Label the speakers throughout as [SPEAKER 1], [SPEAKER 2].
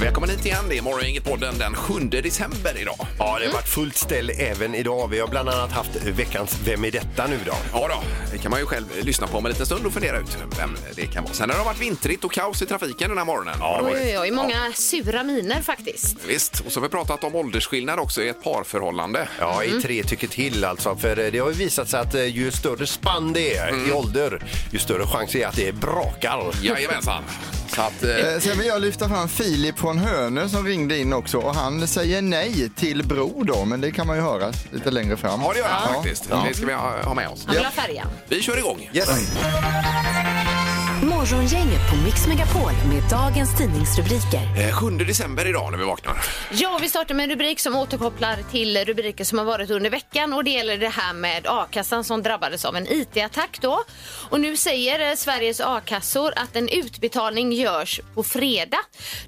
[SPEAKER 1] Välkommen hit igen. Det är Morgongänget-podden den 7 december idag.
[SPEAKER 2] Ja, det har varit fullt ställ även idag. Vi har bland annat haft veckans Vem är detta nu då?
[SPEAKER 1] Ja då, det kan man ju själv eh, lyssna på om en liten stund och fundera ut vem det kan vara. Sen har det varit vintrigt och kaos i trafiken den här morgonen. Ja,
[SPEAKER 3] Oj, oj, oj. Många sura miner faktiskt.
[SPEAKER 1] Visst, och så har vi pratat om åldersskillnad också i ett parförhållande.
[SPEAKER 2] Ja,
[SPEAKER 1] Mm.
[SPEAKER 2] i tre tycker till alltså. För eh, det har ju visat sig att eh, ju större spann det är
[SPEAKER 1] Mm.
[SPEAKER 2] i ålder, ju större chans är att det brakar.
[SPEAKER 1] Jajamensan. Så att, eh,
[SPEAKER 4] Eh, Sen vill jag lyfta fram Filip från Hönö som ringde in också och han säger nej till bro då, men det kan man ju höra lite längre fram.
[SPEAKER 1] ja, det gör han faktiskt. Det ska vi ha ha med oss.
[SPEAKER 3] Han vill ha färjan.
[SPEAKER 1] Vi kör igång.
[SPEAKER 4] Yes.
[SPEAKER 5] Morgongänget på Mix Megapol med dagens tidningsrubriker.
[SPEAKER 1] Eh, 7 december idag när vi vaknar.
[SPEAKER 3] Ja, vi startar med en rubrik som återkopplar till rubriker som har varit under veckan och det gäller det här med a-kassan som drabbades av en IT-attack då. Och nu säger eh, Sveriges a-kassor att en utbetalning görs på fredag.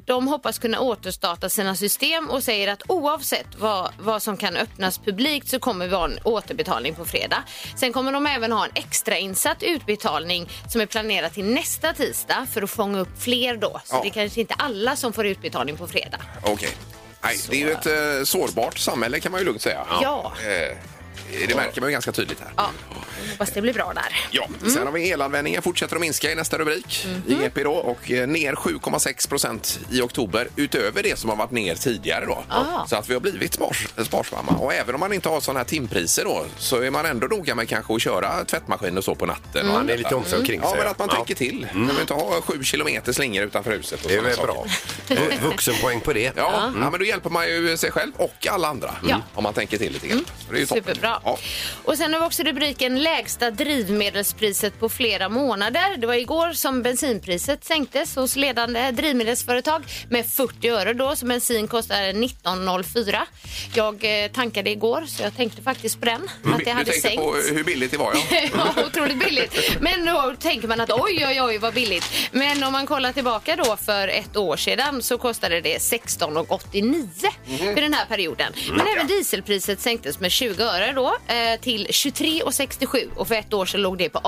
[SPEAKER 3] De hoppas kunna återstarta sina system och säger att oavsett vad, vad som kan öppnas publikt så kommer vi ha en återbetalning på fredag. Sen kommer de även ha en extra insatt utbetalning som är planerad till nästa tisdag för att fånga upp fler då. Så
[SPEAKER 1] Ja.
[SPEAKER 3] det är kanske inte alla som får utbetalning på fredag.
[SPEAKER 1] Okej. Nej, det är ju ett eh, sårbart samhälle kan man ju lugnt säga.
[SPEAKER 3] Ja.
[SPEAKER 1] Eh, det märker man ju ganska tydligt här.
[SPEAKER 3] Ja, hoppas det blir bra där.
[SPEAKER 1] Ja, sen har vi elanvändningen fortsätter att minska i nästa rubrik
[SPEAKER 3] Mhm.
[SPEAKER 1] i GP då och eh, ner 7,6 procent i oktober utöver det som har varit ner tidigare då.
[SPEAKER 3] Ah.
[SPEAKER 1] Så att vi har blivit spars, sparsamma och även om man inte har sådana här timpriser då så är man ändå noga med kanske att köra tvättmaskin och så på natten. Och
[SPEAKER 2] Man Mm. är lite omsorg kring sig. Mm.
[SPEAKER 1] Ja, men att man tänker till. Man behöver inte ha sju kilometer slingor utanför huset. Och
[SPEAKER 2] Det är
[SPEAKER 1] såna
[SPEAKER 2] väl
[SPEAKER 1] saker.
[SPEAKER 2] bra. Vu- Vuxenpoäng på det.
[SPEAKER 1] Ja, ja, men då hjälper man ju sig själv och alla andra
[SPEAKER 3] Ja. Mm.
[SPEAKER 1] om man tänker till lite grann. Det är ju toppen.
[SPEAKER 3] Superbra.
[SPEAKER 1] Ja.
[SPEAKER 3] Och sen har vi också rubriken lägsta drivmedelspriset på flera månader. Det var igår som bensinpriset sänktes hos ledande drivmedelsföretag med 40 öre då, så bensin kostar 19,04. Jag eh, tankade igår så jag tänkte faktiskt på den, att det
[SPEAKER 1] Mm. du
[SPEAKER 3] hade
[SPEAKER 1] tänkte
[SPEAKER 3] sänkts.
[SPEAKER 1] på eh, hur billigt det var, ja.
[SPEAKER 3] Ja, otroligt billigt. Men då tänker man att oj, oj, oj vad billigt. Men om man kollar tillbaka då för ett år sedan så kostade det 16,89
[SPEAKER 1] Mhm.
[SPEAKER 3] för den här perioden.
[SPEAKER 1] Mm,
[SPEAKER 3] Men även dieselpriset sänktes med 20 öre då eh, till 23,67 och för ett år sedan låg det på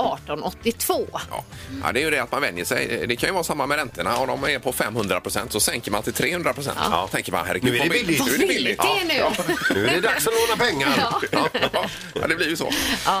[SPEAKER 3] 18,82.
[SPEAKER 1] Ja. ja, det är ju det att man vänjer sig. Det kan ju vara samma med räntorna. Om de är på 500 procent så sänker man till 300 procent. Ja. tänker man, herregud.
[SPEAKER 2] Nu är det
[SPEAKER 1] vad
[SPEAKER 2] billigt.
[SPEAKER 1] Nu är det billigt.
[SPEAKER 3] Det är nu.
[SPEAKER 2] Nu är det dags att låna pengar.
[SPEAKER 1] Ja. ja, det blir ju så.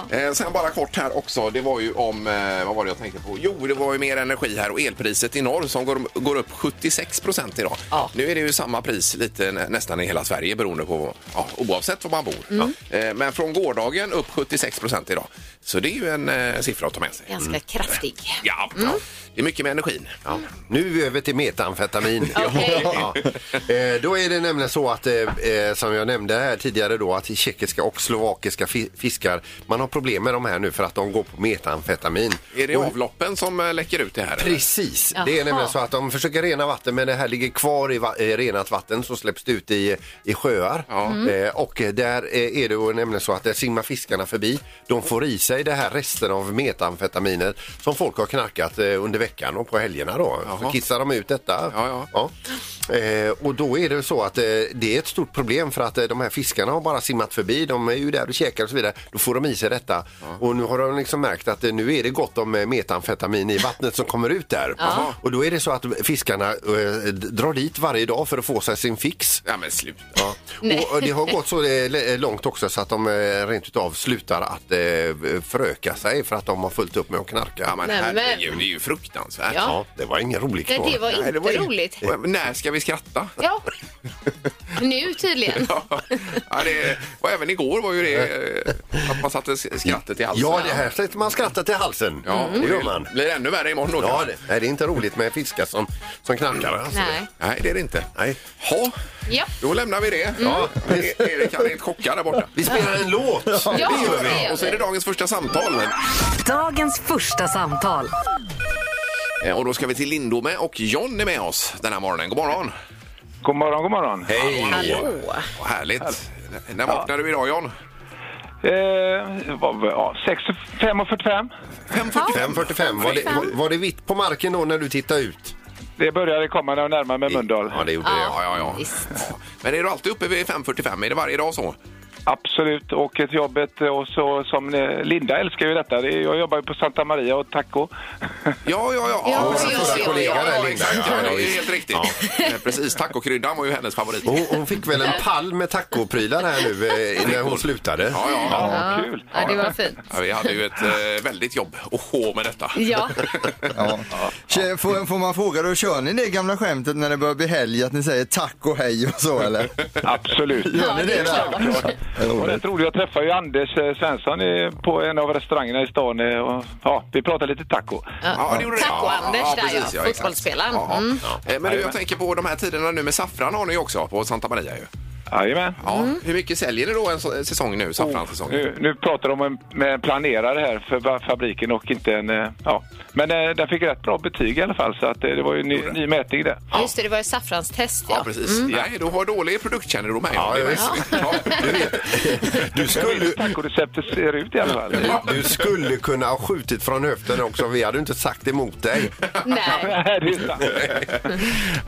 [SPEAKER 1] Eh, sen bara kort här också. Det var ju om, eh, vad var det jag tänkte på? Jo, det var ju mer energi här och elpriset i norr som går, går upp 76 procent idag.
[SPEAKER 3] Ja.
[SPEAKER 1] Nu är det ju samma pris lite nä- nästan i hela Sverige beroende på, ja, oavsett var man bor. Eh, men från gårdagen upp 76 procent idag. Så det är ju en eh, siffra att ta med sig.
[SPEAKER 3] Ganska kraftig.
[SPEAKER 1] Ja, ja. det är mycket med energin.
[SPEAKER 2] Ja. Nu över till metamfetamin.
[SPEAKER 3] Okej.
[SPEAKER 2] Ja. Eh, Då är det nämligen så att, eh, eh, som jag nämnde här tidigare då, att tjeckiska och slovakiska fi- fiskar, man har problem med de här nu för att de går på metamfetamin.
[SPEAKER 1] Är det
[SPEAKER 2] Och-
[SPEAKER 1] avloppen som eh, läcker ut det här? eller?
[SPEAKER 2] Precis, det
[SPEAKER 3] Jaha.
[SPEAKER 2] är nämligen så att de försöker rena vatten men det här ligger kvar i va- eh, renat vatten så släpps det ut i, i sjöar.
[SPEAKER 1] Ja. Mm.
[SPEAKER 2] Eh, och där eh, är det ju nämligen så att där simmar fiskarna förbi. De får i sig det här resten av metamfetaminer som folk har knarkat eh, under veckan och på helgerna då.
[SPEAKER 1] Jaha.
[SPEAKER 2] Så kissar de ut detta.
[SPEAKER 1] Ja,
[SPEAKER 2] Ja. Eh, och då är det så att eh, det är ett stort problem för att eh, de här fiskarna har bara simmat förbi. De är ju där och käkar och så vidare. Då får de i sig detta. Och nu har de liksom märkt att eh, nu är det gott om eh, metamfetamin i vattnet som kommer ut där.
[SPEAKER 1] Ja.
[SPEAKER 2] Och då är det så att fiskarna eh, d- drar dit varje dag för att få sig sin fix.
[SPEAKER 1] Ja, men sluta.
[SPEAKER 2] Ja. Och eh, det har gått så eh, le- långt också så att de eh, rent utav slutar att eh, föröka sig för att de har fullt upp med att knarka.
[SPEAKER 1] Ja, men
[SPEAKER 3] Nej, men-
[SPEAKER 1] herregud, det är ju fruktansvärt.
[SPEAKER 3] Ja.
[SPEAKER 2] Ja, det var ingen rolig
[SPEAKER 3] Det, det
[SPEAKER 2] knorr.
[SPEAKER 3] var inte
[SPEAKER 1] Nej, det var ju-
[SPEAKER 3] roligt.
[SPEAKER 1] Men När ska vi skratta?
[SPEAKER 3] Ja, nu tydligen.
[SPEAKER 1] Ja, det var, även igår var ju det eh, att man satte skrattet i halsen.
[SPEAKER 2] Ja, det här släpper man skrattar till halsen. Mm.
[SPEAKER 1] Ja,
[SPEAKER 2] Det gör
[SPEAKER 1] det
[SPEAKER 2] man.
[SPEAKER 1] blir ännu värre imorgon
[SPEAKER 2] Ja,
[SPEAKER 1] då. kanske.
[SPEAKER 2] det, nej, det är inte roligt med fiskar som, som knarkar. Alltså.
[SPEAKER 3] Nej.
[SPEAKER 1] Nej, det är det inte.
[SPEAKER 2] Nej.
[SPEAKER 1] Ha,
[SPEAKER 3] Ja.
[SPEAKER 1] då lämnar vi det. Ja. E- Erik han är helt chockad där borta.
[SPEAKER 2] Vi spelar en låt.
[SPEAKER 3] Ja,
[SPEAKER 2] det gör
[SPEAKER 3] det gör
[SPEAKER 2] vi.
[SPEAKER 3] vi.
[SPEAKER 1] Och så är det dagens första samtal.
[SPEAKER 5] Dagens första samtal.
[SPEAKER 1] Eh, Och då ska vi till Lindome och John är med oss den här morgonen. God morgon!
[SPEAKER 6] God morgon, god morgon.
[SPEAKER 2] Hej!
[SPEAKER 3] Hallå.
[SPEAKER 1] Vad härligt! N- När vaknade du idag John?
[SPEAKER 6] Eh, vad, var- ja, 65 och 45.
[SPEAKER 1] 5.45.
[SPEAKER 2] 5.45. Var det, var det vitt på marken då när du tittade ut?
[SPEAKER 6] Det började komma när jag närmade mig Mölndal.
[SPEAKER 1] Ja, det gjorde det. Ja, ja, ja.
[SPEAKER 3] visst.
[SPEAKER 1] Ja. Men är du alltid uppe vid 5.45? Är det varje dag så?
[SPEAKER 6] Absolut, och ett jobbet och så som eh, Linda älskar ju detta. Det är- Jag jobbar ju på Santa Maria och taco.
[SPEAKER 1] Ja, ja, ja.
[SPEAKER 3] Ja,
[SPEAKER 1] vår
[SPEAKER 3] just det.
[SPEAKER 1] förra kollega där,
[SPEAKER 2] Ja,
[SPEAKER 1] Linda.
[SPEAKER 2] exakt.
[SPEAKER 1] Ja,
[SPEAKER 2] Ja,
[SPEAKER 1] det är
[SPEAKER 2] visst.
[SPEAKER 1] helt riktigt. Eh, Precis, tacokryddan var ju hennes favorit.
[SPEAKER 3] Oh.
[SPEAKER 2] Och Hon, hon fick väl en pall med tacoprylar här nu eh, när hon slutade.
[SPEAKER 1] Ja, ja.
[SPEAKER 6] Ja, kul!
[SPEAKER 3] Ja, det var fint.
[SPEAKER 1] Ja, vi hade ju ett eh, väldigt jobb oh, med detta.
[SPEAKER 3] Ja.
[SPEAKER 4] Ja. Tje- Får, får man fråga då, kör ni det gamla skämtet när det börjar bli helg att ni säger tack och hej och så eller?
[SPEAKER 6] Absolut.
[SPEAKER 4] Gör ni det? där?
[SPEAKER 6] Och det tror jag. Jag träffade ju Anders eh, Svensson i- på en av restaurangerna i stan. eh, Och, ja, vi pratade lite taco.
[SPEAKER 1] Ja, det gjorde det.
[SPEAKER 3] Taco-Anders där, ja.
[SPEAKER 1] exakt.
[SPEAKER 3] Fotbollsspelaren.
[SPEAKER 1] Ja,
[SPEAKER 3] Mm.
[SPEAKER 1] ja. Eh, Men du, jag tänker på de här tiderna nu med saffran har ni också på Santa Maria ju.
[SPEAKER 6] Jajamän.
[SPEAKER 1] Ja.
[SPEAKER 3] Mm.
[SPEAKER 1] Hur mycket säljer ni då en så- en säsong nu, saffranssäsongen?
[SPEAKER 7] Mm.
[SPEAKER 6] Nu, nu pratar de om en, med en planerare här för va- fabriken och inte en... eh, Ja. Men eh, den fick rätt bra betyg i alla fall så att eh, det var ju en ny, ny mätning där.
[SPEAKER 3] Just det, det var ju saffranstest.
[SPEAKER 1] Ja,
[SPEAKER 3] Ja.
[SPEAKER 1] precis. Nej, du har dålig produktkännedom här.
[SPEAKER 2] Ja,
[SPEAKER 1] Det är
[SPEAKER 2] visst.
[SPEAKER 1] märkligt. Ja, du vet.
[SPEAKER 2] Du skulle,
[SPEAKER 6] Tacoreceptet ser ut i alla fall.
[SPEAKER 2] du skulle kunna ha skjutit från höften också. Vi hade ju inte sagt emot dig.
[SPEAKER 3] Nej.
[SPEAKER 6] Nej, det är sant.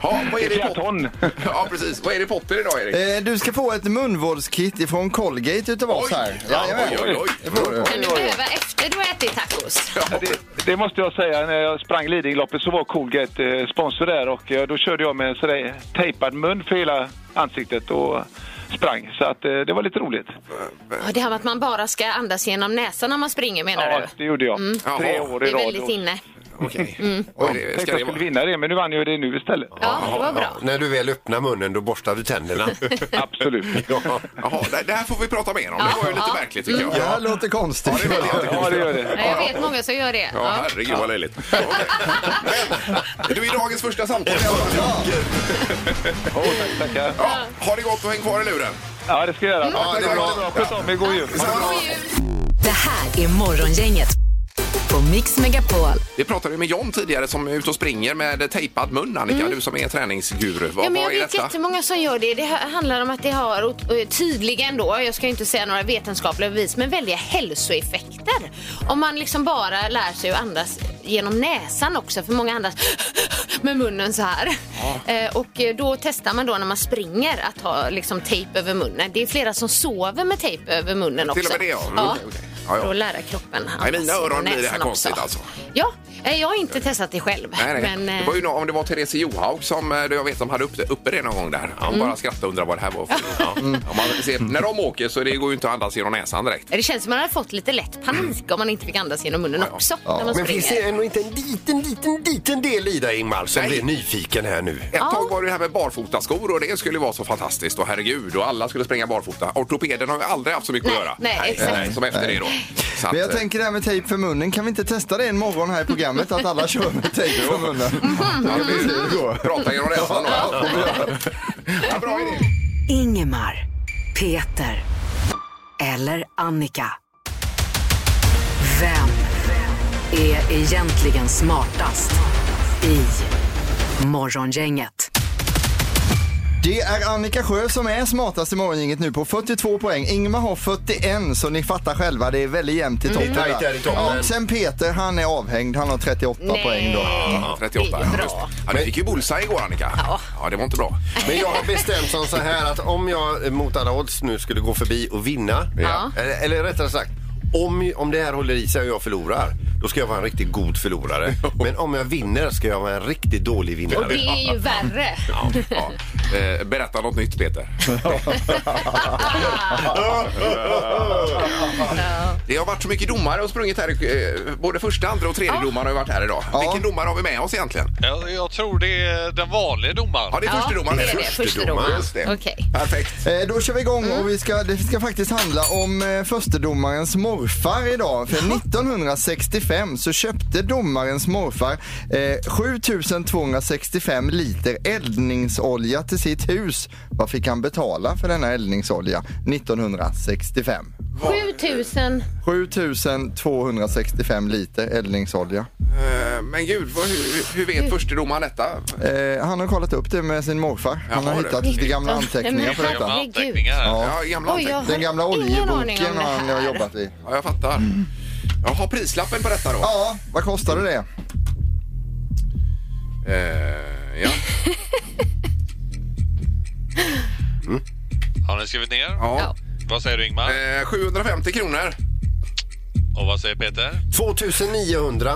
[SPEAKER 1] Ja, vad är det i
[SPEAKER 6] Flera
[SPEAKER 1] pop-
[SPEAKER 6] ton.
[SPEAKER 1] Ja, precis. Vad är det i potten idag, Erik?
[SPEAKER 4] Eh, Du ska få ett munvårdskit ifrån Colgate utav oss här. Jajamän.
[SPEAKER 1] oj, oj,
[SPEAKER 4] Det får du.
[SPEAKER 3] Kan du behöva efter du har ätit tacos?
[SPEAKER 6] Det, det måste jag säga, när jag sprang Lidingöloppet så var Colgate eh, sponsor där och eh, då körde jag med en sådär tejpad mun för hela ansiktet och sprang. Så att eh, det var lite roligt.
[SPEAKER 3] Ja, det här med att man bara ska andas genom näsan när man springer menar
[SPEAKER 6] Ja,
[SPEAKER 3] du?
[SPEAKER 6] det gjorde jag. Tre
[SPEAKER 1] Jaha.
[SPEAKER 6] år
[SPEAKER 3] Mm. Det
[SPEAKER 6] i
[SPEAKER 3] är
[SPEAKER 6] rad.
[SPEAKER 3] väldigt
[SPEAKER 6] och
[SPEAKER 3] inne.
[SPEAKER 1] Okej. Oj, det
[SPEAKER 6] Tänkte
[SPEAKER 1] ska
[SPEAKER 6] jag
[SPEAKER 1] det
[SPEAKER 6] skulle
[SPEAKER 1] vara.
[SPEAKER 6] vinna det, men nu vann jag det nu istället.
[SPEAKER 3] Ja, det var bra.
[SPEAKER 2] När du väl öppnar munnen då borstar du tänderna.
[SPEAKER 6] Absolut.
[SPEAKER 2] Ja.
[SPEAKER 1] Jaha, det- det här får vi prata mer om. Det
[SPEAKER 3] Ja.
[SPEAKER 1] var ju lite
[SPEAKER 3] Ja.
[SPEAKER 1] märkligt tycker jag.
[SPEAKER 4] Det här låter konstigt.
[SPEAKER 6] Ja, det gör det.
[SPEAKER 3] Ja, Jag vet många som gör det.
[SPEAKER 1] Ja,
[SPEAKER 3] Ja.
[SPEAKER 1] herregud vad löjligt. Okej. Men, du är dagens första samtal.
[SPEAKER 6] Åh, tack, tackar.
[SPEAKER 1] Ja, ha det gott och häng kvar i luren.
[SPEAKER 6] Ja, det ska jag
[SPEAKER 8] Mm.
[SPEAKER 6] göra.
[SPEAKER 1] Ja, det är bra.
[SPEAKER 6] Sköt om er, god jul.
[SPEAKER 3] God jul.
[SPEAKER 5] Det här är Morgongänget på Mix Megapol.
[SPEAKER 1] Vi pratade ju med John tidigare som är ute och springer med tejpad mun, Annika. Du som är träningsguru. Vad,
[SPEAKER 3] Mm. Ja, men jag
[SPEAKER 1] vad är
[SPEAKER 3] vet
[SPEAKER 1] detta?
[SPEAKER 3] jättemånga som gör det. Det här handlar om att det har ot- eh, tydligen då, jag ska ju inte säga några vetenskapliga bevis, men väldiga hälsoeffekter. Om man liksom bara lär sig att andas genom näsan också, för många andas med munnen så här. Eh, Och eh, då testar man då när man springer att ha liksom tejp över munnen. Det är flera som sover med tejp över munnen också.
[SPEAKER 1] Till och med det, ja. Mm, okej, okej. Ja, ja.
[SPEAKER 3] För att lära kroppen
[SPEAKER 1] Nej, mina
[SPEAKER 3] andas
[SPEAKER 1] öron
[SPEAKER 3] med
[SPEAKER 1] blir det här
[SPEAKER 3] näsan
[SPEAKER 1] konstigt
[SPEAKER 3] också.
[SPEAKER 1] alltså.
[SPEAKER 3] Ja, eh, jag har inte testat det själv.
[SPEAKER 1] Nej, nej.
[SPEAKER 3] Men, eh,
[SPEAKER 1] det var ju nå- om det var Therese Johaug som eh, jag vet de hade uppe, uppe det någon gång där. Han
[SPEAKER 3] Mm.
[SPEAKER 1] bara skrattade och undrade vad det här var för ja. Om man ser, När de åker så det går ju inte att andas genom näsan direkt.
[SPEAKER 3] Det känns som man hade fått lite lätt panik om man inte fick andas genom munnen också. När man
[SPEAKER 2] Men
[SPEAKER 3] springer.
[SPEAKER 2] finns det ändå inte en liten, liten, liten del i dig Ingmar som
[SPEAKER 1] Nej.
[SPEAKER 2] blir nyfiken här nu?
[SPEAKER 1] Ett tag var det här med barfotaskor och det skulle vara så fantastiskt och herregud och alla skulle springa barfota. Ortopeden har ju aldrig haft så mycket
[SPEAKER 3] Nej,
[SPEAKER 1] att göra.
[SPEAKER 3] nej, exakt.
[SPEAKER 1] eh, Som efter det då. Så att,
[SPEAKER 4] Men jag tänker det här med tejp för munnen, kan vi inte testa det en morgon här i programmet att alla kör med tejp för munnen? Ja, vi ser hur det går.
[SPEAKER 1] eh, prata genom näsan då. ja, bra idé.
[SPEAKER 5] Ingemar, Peter eller Annika. Vem är egentligen smartast i Morgongänget?
[SPEAKER 4] Det är Annika Sjö som är smartast i morgongänget nu på 42 poäng. Ingmar har 41 så ni fattar själva, det är väldigt jämnt i toppen.
[SPEAKER 2] tajt
[SPEAKER 4] där.
[SPEAKER 2] är Mm. det i toppen.
[SPEAKER 4] Ja, sen Peter, han är avhängd, han har 38
[SPEAKER 3] Nej.
[SPEAKER 4] poäng då.
[SPEAKER 1] Ja, 38.
[SPEAKER 3] Det är bra.
[SPEAKER 1] Ja, just det. ja, du fick ju bullseye igår Annika. Ja. ja, det var inte bra.
[SPEAKER 2] Men jag har bestämt som så här att om jag eh, mot alla odds nu skulle gå förbi och vinna,
[SPEAKER 1] Ja.
[SPEAKER 2] eller, eller rättare sagt om, om det här håller i sig och jag förlorar, då ska jag vara en riktigt god förlorare. Men om jag vinner ska jag vara en riktigt dålig vinnare.
[SPEAKER 3] Och det är ju värre.
[SPEAKER 1] Ja, ja. Eh, Berätta något nytt Peter. Det har varit så mycket domare och sprungit här. eh, Både första, andra och tredje domare har ju varit här idag. Vilken domare har vi med oss egentligen?
[SPEAKER 9] Jag, jag tror det är den vanliga domaren.
[SPEAKER 1] Ja, det är första domaren.
[SPEAKER 3] det är det. Förstedomaren.
[SPEAKER 1] Just det.
[SPEAKER 3] Okej.
[SPEAKER 1] Perfekt.
[SPEAKER 4] Eh, Då kör vi igång och vi ska, det ska faktiskt handla om eh, förstedomarens morfar idag. För 1965 så köpte domarens morfar eh, 7265 liter eldningsolja till sitt hus. Vad fick han betala för denna eldningsolja 1965?
[SPEAKER 3] 7000.
[SPEAKER 4] 7265 liter eldningsolja.
[SPEAKER 1] Eh, Men gud, vad, hur, hur
[SPEAKER 3] Mm.
[SPEAKER 1] vet förstedomaren detta?
[SPEAKER 4] Eh, han har kollat upp det med sin morfar. Han
[SPEAKER 1] Jaha,
[SPEAKER 4] har
[SPEAKER 1] du.
[SPEAKER 4] hittat lite gamla anteckningar på
[SPEAKER 9] Gamla
[SPEAKER 4] detta.
[SPEAKER 9] anteckningar här.
[SPEAKER 1] Ja, gamla anteckningar.
[SPEAKER 3] Oj, ja.
[SPEAKER 4] Den gamla
[SPEAKER 3] Ingen aning
[SPEAKER 4] oljeboken
[SPEAKER 3] om det
[SPEAKER 4] har han
[SPEAKER 3] här.
[SPEAKER 4] jobbat i.
[SPEAKER 1] Ja, jag fattar.
[SPEAKER 3] Mm.
[SPEAKER 1] Jaha, prislappen på detta då?
[SPEAKER 4] Ja, vad kostade det?
[SPEAKER 1] Eh, Ja.
[SPEAKER 9] Har ni skrivit ner?
[SPEAKER 1] Mm. ja.
[SPEAKER 9] Vad säger du Ingmar?
[SPEAKER 1] Eh, 750 kronor.
[SPEAKER 9] Och vad säger Peter?
[SPEAKER 2] 2900.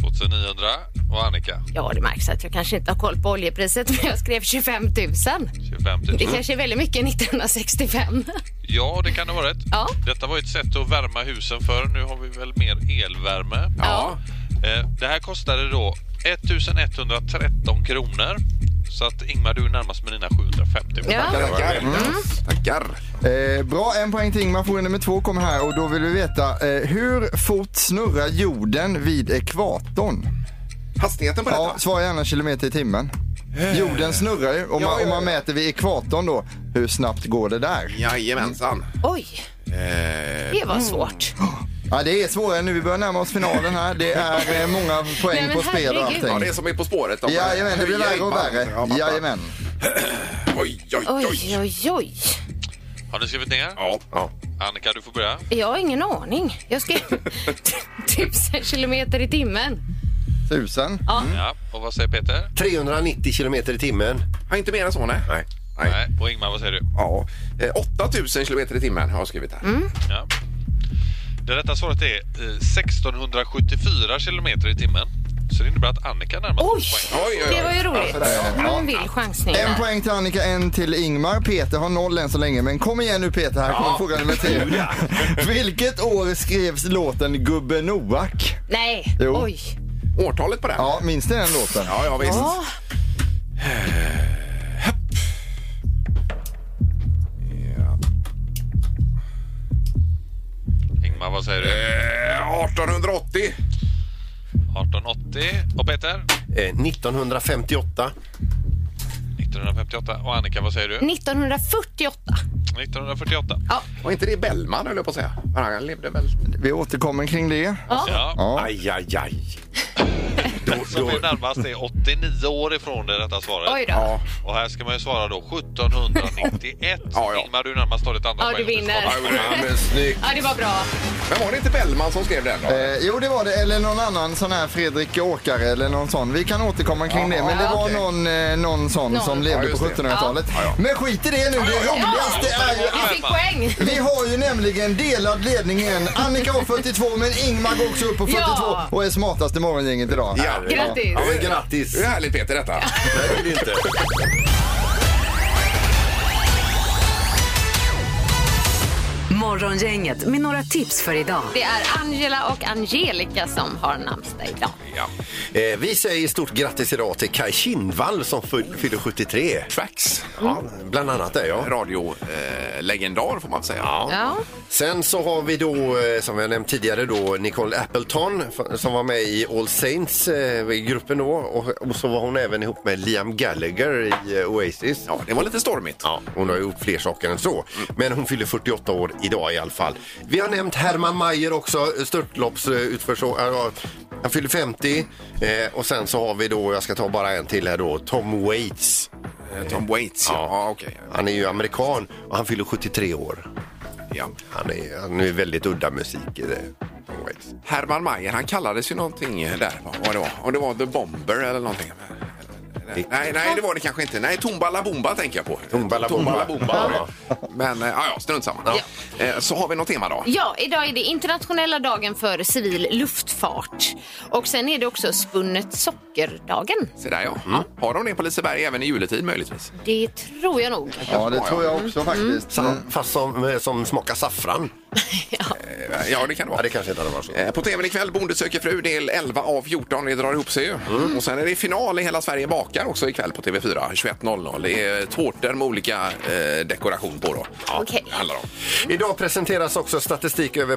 [SPEAKER 9] 2900. Och Annika?
[SPEAKER 3] Ja, det märks att jag kanske inte har koll på oljepriset, men jag skrev 25 000.
[SPEAKER 9] 25 000.
[SPEAKER 3] Det kanske är väldigt mycket 1965.
[SPEAKER 9] Ja, det kan det ha varit.
[SPEAKER 3] Ja.
[SPEAKER 9] Detta var ju ett sätt att värma husen för. Nu har vi väl mer elvärme.
[SPEAKER 1] Ja.
[SPEAKER 9] Eh, Det här kostade då 1113 kronor. Så att Ingmar, du är närmast med dina 750.
[SPEAKER 3] Ja.
[SPEAKER 1] Tackar. Mm. Tackar.
[SPEAKER 4] Eh, bra, en poäng till Ingmar. Fråga nummer två kommer här och då vill vi veta eh, hur fort snurrar jorden vid ekvatorn?
[SPEAKER 1] Hastigheten på
[SPEAKER 4] Ja,
[SPEAKER 1] detta? Eh.
[SPEAKER 4] svara gärna kilometer i timmen. Jorden snurrar ju. Om
[SPEAKER 1] Ja,
[SPEAKER 4] man,
[SPEAKER 1] ja,
[SPEAKER 4] om man
[SPEAKER 1] ja.
[SPEAKER 4] mäter vid ekvatorn då, hur snabbt går det där?
[SPEAKER 1] Jajamensan.
[SPEAKER 3] Oj,
[SPEAKER 1] Eh,
[SPEAKER 3] det var svårt.
[SPEAKER 9] Mm.
[SPEAKER 4] Ja, det är svårare nu. Vi börjar närma oss finalen här. Det är eh, många
[SPEAKER 3] Nej,
[SPEAKER 4] poäng
[SPEAKER 3] men
[SPEAKER 4] på spel och
[SPEAKER 3] herregud.
[SPEAKER 4] allting.
[SPEAKER 1] ja, det är som är På spåret. De
[SPEAKER 4] Jajamän, det blir
[SPEAKER 1] höjer
[SPEAKER 4] värre och
[SPEAKER 1] ribban. Ja,
[SPEAKER 4] värre.
[SPEAKER 1] pappa.
[SPEAKER 4] Jajamän.
[SPEAKER 1] Oj, oj, oj.
[SPEAKER 3] Oj, oj, oj.
[SPEAKER 9] Har ni skrivit ner?
[SPEAKER 1] Ja. ja.
[SPEAKER 9] Annika, du får börja.
[SPEAKER 3] Jag har ingen aning. Jag skrev tusen kilometer i timmen.
[SPEAKER 4] Tusen.
[SPEAKER 9] Ja. Och vad säger Peter?
[SPEAKER 2] 390 kilometer i timmen.
[SPEAKER 1] Ja, inte mer än så, nej.
[SPEAKER 2] Nej.
[SPEAKER 1] Nej.
[SPEAKER 9] Nej. Och Ingmar, vad säger du?
[SPEAKER 1] Ja. Eh, 8000 kilometer i timmen har jag skrivit här.
[SPEAKER 3] Mm.
[SPEAKER 9] Ja. Det rätta svaret är eh, 1674 kilometer i timmen. Så det innebär att Annika är närmast
[SPEAKER 3] Oj,
[SPEAKER 9] poäng.
[SPEAKER 1] Oj, oj,
[SPEAKER 3] det var
[SPEAKER 1] oj.
[SPEAKER 3] ju roligt. Någon vill chansning.
[SPEAKER 4] En poäng till Annika, en till Ingmar. Peter har noll än så länge, men kom igen nu Peter, här kommer fråga nummer tre. Vilket år skrevs låten Gubbe Noak?
[SPEAKER 3] Nej,
[SPEAKER 4] Jo.
[SPEAKER 3] oj.
[SPEAKER 1] Årtalet på den?
[SPEAKER 4] Ja, minns ni den låten?
[SPEAKER 1] ja, ja visst.
[SPEAKER 3] Ja,
[SPEAKER 1] Ja.
[SPEAKER 9] Ingmar, vad säger du?
[SPEAKER 1] Eh, 1880.
[SPEAKER 9] 1880. Och Peter?
[SPEAKER 2] Eh, 1958.
[SPEAKER 9] 1958. Och Annika, vad säger
[SPEAKER 3] Mm.
[SPEAKER 9] du?
[SPEAKER 3] 1948.
[SPEAKER 9] 1948.
[SPEAKER 3] Ja,
[SPEAKER 1] Var inte det Bellman, höll jag på att säga? Men han levde väl...
[SPEAKER 4] Vi återkommer kring det.
[SPEAKER 9] Ja.
[SPEAKER 4] Ja.
[SPEAKER 2] Aj, aj, aj.
[SPEAKER 9] Den som är närmast är 89 år ifrån det rätta svaret.
[SPEAKER 3] oj då.
[SPEAKER 1] Ja,
[SPEAKER 9] Och här ska man ju svara då 1791.
[SPEAKER 1] Ja, ja.
[SPEAKER 9] Ingmar, du är närmast har ditt andra
[SPEAKER 3] Ja, du
[SPEAKER 9] poäng om
[SPEAKER 3] vinner.
[SPEAKER 9] svarar.
[SPEAKER 1] ja men snyggt.
[SPEAKER 3] Ja, det var bra.
[SPEAKER 1] Men var det inte Bellman som skrev den? Då?
[SPEAKER 4] Eh, jo, det var det. Eller någon annan sån här Fredrik Åkare eller någon sån. Vi kan återkomma kring det. Men det
[SPEAKER 1] Ja,
[SPEAKER 4] var
[SPEAKER 1] okej.
[SPEAKER 4] någon, eh, någon sån
[SPEAKER 3] Någon.
[SPEAKER 4] som
[SPEAKER 1] Ja,
[SPEAKER 4] levde
[SPEAKER 1] just
[SPEAKER 4] på
[SPEAKER 1] det.
[SPEAKER 4] 1700-talet.
[SPEAKER 1] Ja, ja.
[SPEAKER 4] Men skit i det nu. Det roligaste är ju
[SPEAKER 3] Du
[SPEAKER 4] att
[SPEAKER 3] fick poäng.
[SPEAKER 4] vi har ju nämligen delad ledning igen. Annika har 42 men Ingmar går också upp på 42
[SPEAKER 3] Ja.
[SPEAKER 4] och är smartaste morgongänget idag.
[SPEAKER 1] Ja.
[SPEAKER 3] Grattis.
[SPEAKER 2] Ja, men grattis.
[SPEAKER 1] Det är härligt Peter detta.
[SPEAKER 2] Nej, det är det inte.
[SPEAKER 5] Morgongänget med några tips för idag.
[SPEAKER 3] Det är Angela och Angelica som har namnsdag idag.
[SPEAKER 1] Ja.
[SPEAKER 2] Eh, vi säger stort grattis idag till Kaj Kindvall som fy- fyller 73.
[SPEAKER 1] Tracks.
[SPEAKER 2] Ja, bland annat det, ja.
[SPEAKER 1] Radiolegendar eh, legendar, får man säga.
[SPEAKER 3] Ja.
[SPEAKER 2] Sen så har vi då, eh, som jag nämnt tidigare, då Nicole Appleton f- som var med i All Saints, eh, i gruppen då. Och, och så var hon även ihop med Liam Gallagher i eh, Oasis.
[SPEAKER 1] Ja, det var Mm. lite stormigt.
[SPEAKER 2] Ja, hon har gjort fler saker än så. Men hon fyller 48 år idag i alla fall. Vi har nämnt Herman Mayer också, störtloppsutförsåkare. Ja, han fyller 50. Eh, och sen så har vi då, jag ska ta bara en till här då, Tom Waits.
[SPEAKER 1] Eh, Tom Waits, ja. ja okej.
[SPEAKER 2] Han är ju amerikan och han fyller 73 år.
[SPEAKER 1] Ja.
[SPEAKER 2] Han är, han är väldigt udda musik. eh, Tom Waits.
[SPEAKER 1] Herman Mayer, han kallades ju någonting där. Vad vad det var? Om det var The Bomber eller någonting. Eller- Nej, nej, det var det kanske inte. Nej, Tombala Bomba tänker jag på.
[SPEAKER 2] Tombala
[SPEAKER 1] Tombala
[SPEAKER 2] Bomba.
[SPEAKER 1] Bomba var det. Men eh, ja, ja, strunt samma. Eh, Så har vi något tema då?
[SPEAKER 3] Ja, idag är det internationella dagen för civil luftfart. Och sen är det också spunnet sockerdagen.
[SPEAKER 1] Se där ja. Mm. Har de det på Liseberg även i juletid möjligtvis?
[SPEAKER 3] Det tror jag nog.
[SPEAKER 4] Ja, det tror jag
[SPEAKER 1] Mm.
[SPEAKER 4] också faktiskt. Mm.
[SPEAKER 2] Sa- Fast som, eh, som smakar saffran.
[SPEAKER 1] Eh, Ja, det kan
[SPEAKER 2] Ja,
[SPEAKER 1] det vara.
[SPEAKER 2] det kanske inte hade varit så.
[SPEAKER 1] Eh, På tvn ikväll, Bonde söker fru, del 11 av 14. Det drar ihop sig ju.
[SPEAKER 4] Mm.
[SPEAKER 1] Och sen är det final i Hela Sverige bakar också ikväll på TV4, 21.00. Det är tårtor med olika eh, dekoration på då. Ja,
[SPEAKER 3] Okej.
[SPEAKER 1] det handlar om.
[SPEAKER 2] Idag presenteras också statistik över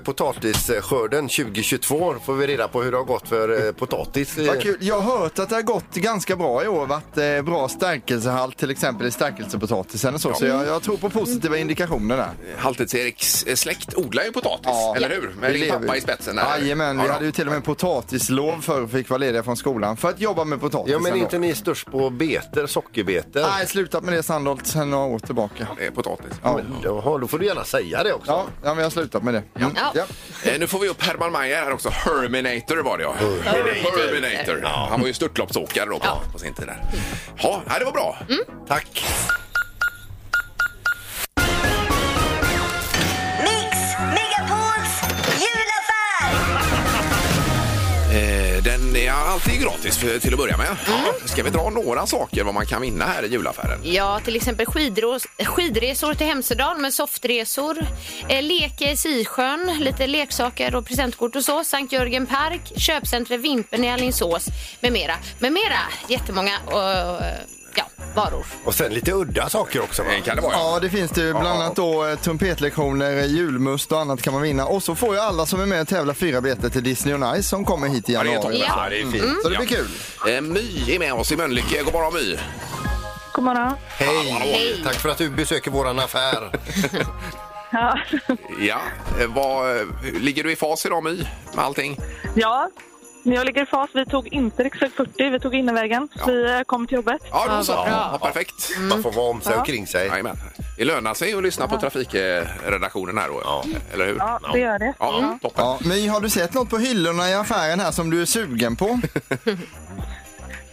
[SPEAKER 2] potatisskörden 2022. Får vi reda på hur det har gått för eh, potatis. eh,
[SPEAKER 4] Vad kul. Jag har hört att det har gått ganska bra i år. Varit eh, bra stärkelsehalt till exempel i stärkelsepotatisen och så. Så jag, jag tror på positiva indikationer där.
[SPEAKER 1] Halvtids-Eriks eh, släkt odlar ju potatis,
[SPEAKER 4] Ja.
[SPEAKER 1] eller hur? Med
[SPEAKER 4] Vi
[SPEAKER 1] din
[SPEAKER 4] lever
[SPEAKER 1] pappa
[SPEAKER 4] ju.
[SPEAKER 1] i spetsen. där.
[SPEAKER 4] Jajamän, vi
[SPEAKER 1] Ja,
[SPEAKER 4] hade ju till och med potatislov förr fick vara lediga från skolan för att jobba med potatis.
[SPEAKER 2] Ja, men
[SPEAKER 4] ändå.
[SPEAKER 2] inte ni störst på beter, sockerbeter?
[SPEAKER 4] Nej, slutat med det Sandholt sen några år tillbaka.
[SPEAKER 1] eh, Potatis.
[SPEAKER 4] Ja.
[SPEAKER 2] Då har då får du gärna säga det också.
[SPEAKER 4] Ja, ja, men jag har slutat med det. Mm.
[SPEAKER 3] Ja.
[SPEAKER 1] Eh, Nu får vi upp Herman Meyer här också. Herminator var det ja. Herminator. Han var ju störtloppsåkare då på, på sin tid. Där. Ja, nej, det var bra. Tack.
[SPEAKER 10] Mix Megapols julaffär!
[SPEAKER 1] Eh, Den är alltid gratis för, till att börja med. Ska vi dra några saker vad man kan vinna här i julaffären?
[SPEAKER 3] Ja, till exempel skidros- skidresor till Hemsedal med softresor, eh, leker i Sisjön, lite leksaker och presentkort och så, Sankt Jörgen Park, köpcentret Vimpen i Alingsås med mera. Med mera, jättemånga eh, ja, varor.
[SPEAKER 2] Och sen lite udda saker också. Va?
[SPEAKER 1] Eh, Kan det vara?
[SPEAKER 4] Ja, det finns det ju. Bland annat då eh, trumpetlektioner, eh, julmust och annat kan man vinna. Och så får ju alla som är med och tävlar fyra biljetter till Disney on Ice som kommer hit i
[SPEAKER 1] Ja, det är
[SPEAKER 4] januari.
[SPEAKER 1] toppen.
[SPEAKER 3] Ja.
[SPEAKER 1] Ja, det är fint.
[SPEAKER 4] Så det blir
[SPEAKER 1] Ja.
[SPEAKER 4] kul.
[SPEAKER 1] Eh, My är med oss i Mölnlycke. God morgon My.
[SPEAKER 8] God morgon.
[SPEAKER 2] Hej. Tack för att du besöker våran affär.
[SPEAKER 8] Ja.
[SPEAKER 1] Ja, eh, vad, eh, ligger du i fas idag My med allting?
[SPEAKER 8] ja, men jag ligger i fas. Vi tog inte riksväg 40, vi tog innervägen.
[SPEAKER 1] Ja.
[SPEAKER 8] Vi eh, kom till jobbet.
[SPEAKER 1] Ja, då så.
[SPEAKER 3] vad bra.
[SPEAKER 1] Ja, perfekt.
[SPEAKER 2] Man får vara om sig och kring sig.
[SPEAKER 1] Jajamän. Det lönar sig att lyssna på trafikredaktionen här då, eller hur?
[SPEAKER 8] Ja, det gör det.
[SPEAKER 1] Ja, toppen.
[SPEAKER 4] Ja, men har du sett något på hyllorna i affären här som du är sugen på?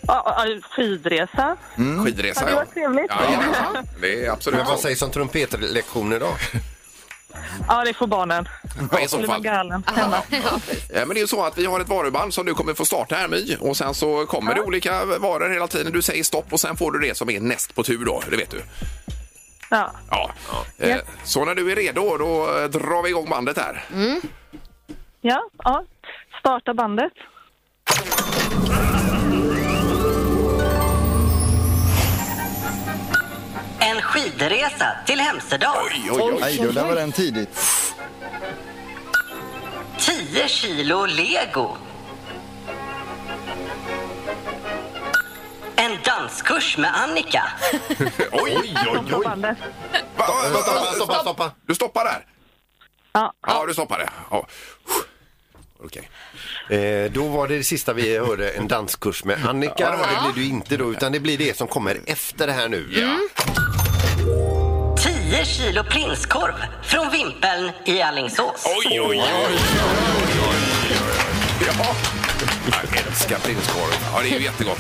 [SPEAKER 8] Ja, ja, skidresa.
[SPEAKER 1] Skidresa,
[SPEAKER 8] Mm. Ja, det var trevligt.
[SPEAKER 1] Ja, ja, det är absolut
[SPEAKER 2] Men vad
[SPEAKER 1] så.
[SPEAKER 2] sägs om trumpetlektioner då?
[SPEAKER 8] Ja, det får barnen.
[SPEAKER 1] Ja, i så
[SPEAKER 8] Blir man
[SPEAKER 1] fall.
[SPEAKER 8] galen.
[SPEAKER 1] Eh, Men det är ju så att vi har ett varuband som du kommer få starta här My och sen så kommer det olika varor hela tiden. Du säger stopp och sen får du det som är näst på tur då, det vet du.
[SPEAKER 8] Ja.
[SPEAKER 1] Ja. Eh, Så när du är redo då eh, drar vi igång bandet här.
[SPEAKER 8] Ja, ja. Starta bandet.
[SPEAKER 11] En skidresa till Hemsedal.
[SPEAKER 1] Oj, oj, oj.
[SPEAKER 4] Nej, då, där var den tidigt.
[SPEAKER 11] 10 kilo lego. En danskurs med Annika.
[SPEAKER 1] oj, oj, oj.
[SPEAKER 8] Starta bandet.
[SPEAKER 1] Va, va, va,
[SPEAKER 2] Stoppa,
[SPEAKER 1] va,
[SPEAKER 2] stoppa, stoppa.
[SPEAKER 1] Du stoppar där?
[SPEAKER 8] Ja.
[SPEAKER 1] Ja, du stoppar det. Ja. Okej.
[SPEAKER 2] Eh, då var det det sista vi hörde, en danskurs med Annika. det, blir du inte då, utan det blir det som kommer efter det här nu.
[SPEAKER 11] 10 kilo prinskorv från Vimpeln i Alingsås.
[SPEAKER 1] Oj, oj, oj. Ja. Jag älskar prinskorv. Ja, det är ju jättegott.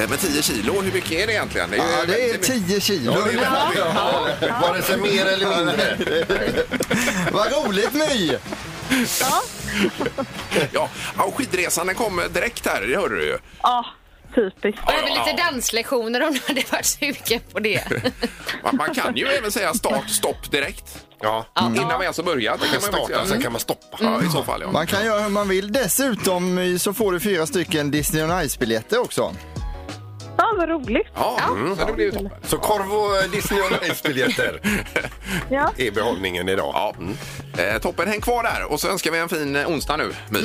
[SPEAKER 1] Eh, Men 10 kilo, hur mycket är det egentligen? ju
[SPEAKER 4] Ja, det är
[SPEAKER 1] väldigt mycket.
[SPEAKER 4] 10 kilo.
[SPEAKER 1] Ja, det är väldigt mycket.
[SPEAKER 2] Vare sig mer eller mindre.
[SPEAKER 4] Vad roligt My!
[SPEAKER 1] Ja, ja, och skidresan den kom direkt här, det hörde du ju.
[SPEAKER 8] Ja, typiskt.
[SPEAKER 3] Och även lite danslektioner om du hade varit sugen på det.
[SPEAKER 1] Man, man kan ju även säga start, stopp direkt.
[SPEAKER 2] Ja.
[SPEAKER 1] Innan vi ens har börjat. Det
[SPEAKER 2] Man kan
[SPEAKER 1] ju faktiskt
[SPEAKER 2] starta,
[SPEAKER 1] göra.
[SPEAKER 2] sen kan man stoppa.
[SPEAKER 1] Ja, i så fall ja.
[SPEAKER 4] Man kan göra hur man vill. Dessutom My, så får du fyra stycken Disney on Ice-biljetter också.
[SPEAKER 8] Ja, vad roligt.
[SPEAKER 1] Ja, mm. så det blir ju toppen.
[SPEAKER 2] Så korv och eh, Disney och Ice-biljetter
[SPEAKER 8] Ja.
[SPEAKER 2] är behållningen idag.
[SPEAKER 1] Ja. Eh, toppen, häng kvar där och så önskar vi en fin eh, onsdag nu, My.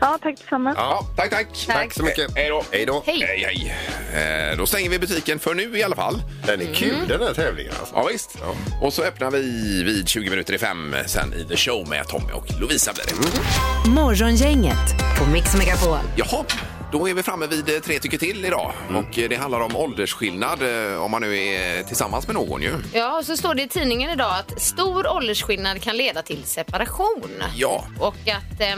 [SPEAKER 8] ja, tack detsamma.
[SPEAKER 1] Ja, tack, tack.
[SPEAKER 2] Tack så mycket.
[SPEAKER 1] Hej då.
[SPEAKER 2] Hej då.
[SPEAKER 3] Hej.
[SPEAKER 1] Hej, hej. Eh, då stänger vi butiken för nu i alla fall.
[SPEAKER 2] Den är kul den här tävlingen alltså.
[SPEAKER 1] Ja, visst. Och så öppnar vi vid 20 minuter i fem sen i The Show med Tommy och Lovisa blir det.
[SPEAKER 2] Mm.
[SPEAKER 5] Morgongänget på Mix Megapol.
[SPEAKER 1] Jaha, då är vi framme vid eh, tre tycker till idag. Och eh, det handlar om åldersskillnad eh, om man nu är tillsammans med någon ju.
[SPEAKER 3] Ja, och så står det i tidningen idag att stor åldersskillnad kan leda till separation.
[SPEAKER 1] Ja.
[SPEAKER 3] Och att eh,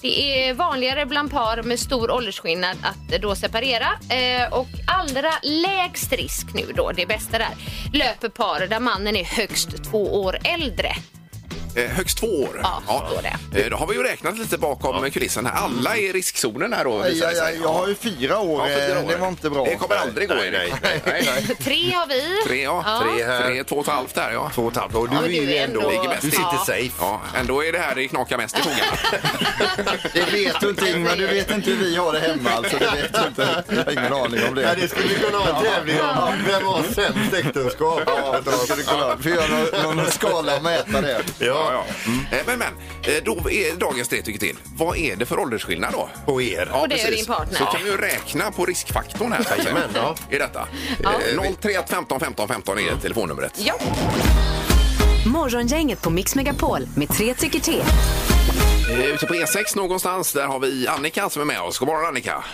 [SPEAKER 3] det är vanligare bland par med stor åldersskillnad att eh, då separera. Eh, och allra lägst risk nu då, det bästa där, löper par där mannen är högst två år äldre.
[SPEAKER 1] Eh, högst två år.
[SPEAKER 3] Ja, så är
[SPEAKER 1] Eh, Då har vi ju räknat lite bakom eh, kulissen. här. Alla är i riskzonen här då.
[SPEAKER 4] Aj,
[SPEAKER 1] visar det
[SPEAKER 4] aj,
[SPEAKER 1] sig.
[SPEAKER 4] aj, jag har ju fyra år.
[SPEAKER 1] Ja, fyra
[SPEAKER 4] eh,
[SPEAKER 1] år.
[SPEAKER 4] Det var inte bra.
[SPEAKER 1] Det kommer aldrig gå.
[SPEAKER 2] Nej,
[SPEAKER 1] Erik.
[SPEAKER 2] nej,
[SPEAKER 3] Tre har vi.
[SPEAKER 1] Tre, ja.
[SPEAKER 2] Tre här.
[SPEAKER 1] Tre, två och ett halvt där, ja.
[SPEAKER 2] Två och ett halvt år. Du
[SPEAKER 3] Ja,
[SPEAKER 2] är ju ändå...
[SPEAKER 1] Ligger bäst
[SPEAKER 2] Du sitter
[SPEAKER 3] ja.
[SPEAKER 2] safe.
[SPEAKER 1] Ja, ändå är det här det knakar mest i fogarna.
[SPEAKER 4] Det vet du inte Ingmar, du vet inte hur vi har det hemma alltså. Det vet du inte. Jag har ingen aning om
[SPEAKER 2] Ja,
[SPEAKER 4] det.
[SPEAKER 2] det skulle vi kunna ha en tävling om. Vem har sämst äktenskap?
[SPEAKER 4] Ja, då ska du kolla. Får göra någon, någon skala och mäta det.
[SPEAKER 2] Ja,
[SPEAKER 1] Ja, ja. Eh, Men, men, eh, då är dagens tre tycker till. Vad är det för åldersskillnad då?
[SPEAKER 2] på er.
[SPEAKER 1] Ja,
[SPEAKER 3] Och det är din partner.
[SPEAKER 1] Så kan vi ju räkna på riskfaktorn här. så att säga,
[SPEAKER 2] Jajamän, ja. Mm.
[SPEAKER 1] I detta. Eh, 031 15 15 15 är telefonnumret.
[SPEAKER 3] Ja.
[SPEAKER 5] Morgongänget på Mix Megapol med tre tycker till.
[SPEAKER 1] E Eh, Ute på E6 någonstans, där har vi Annika som är med oss. God morgon Annika!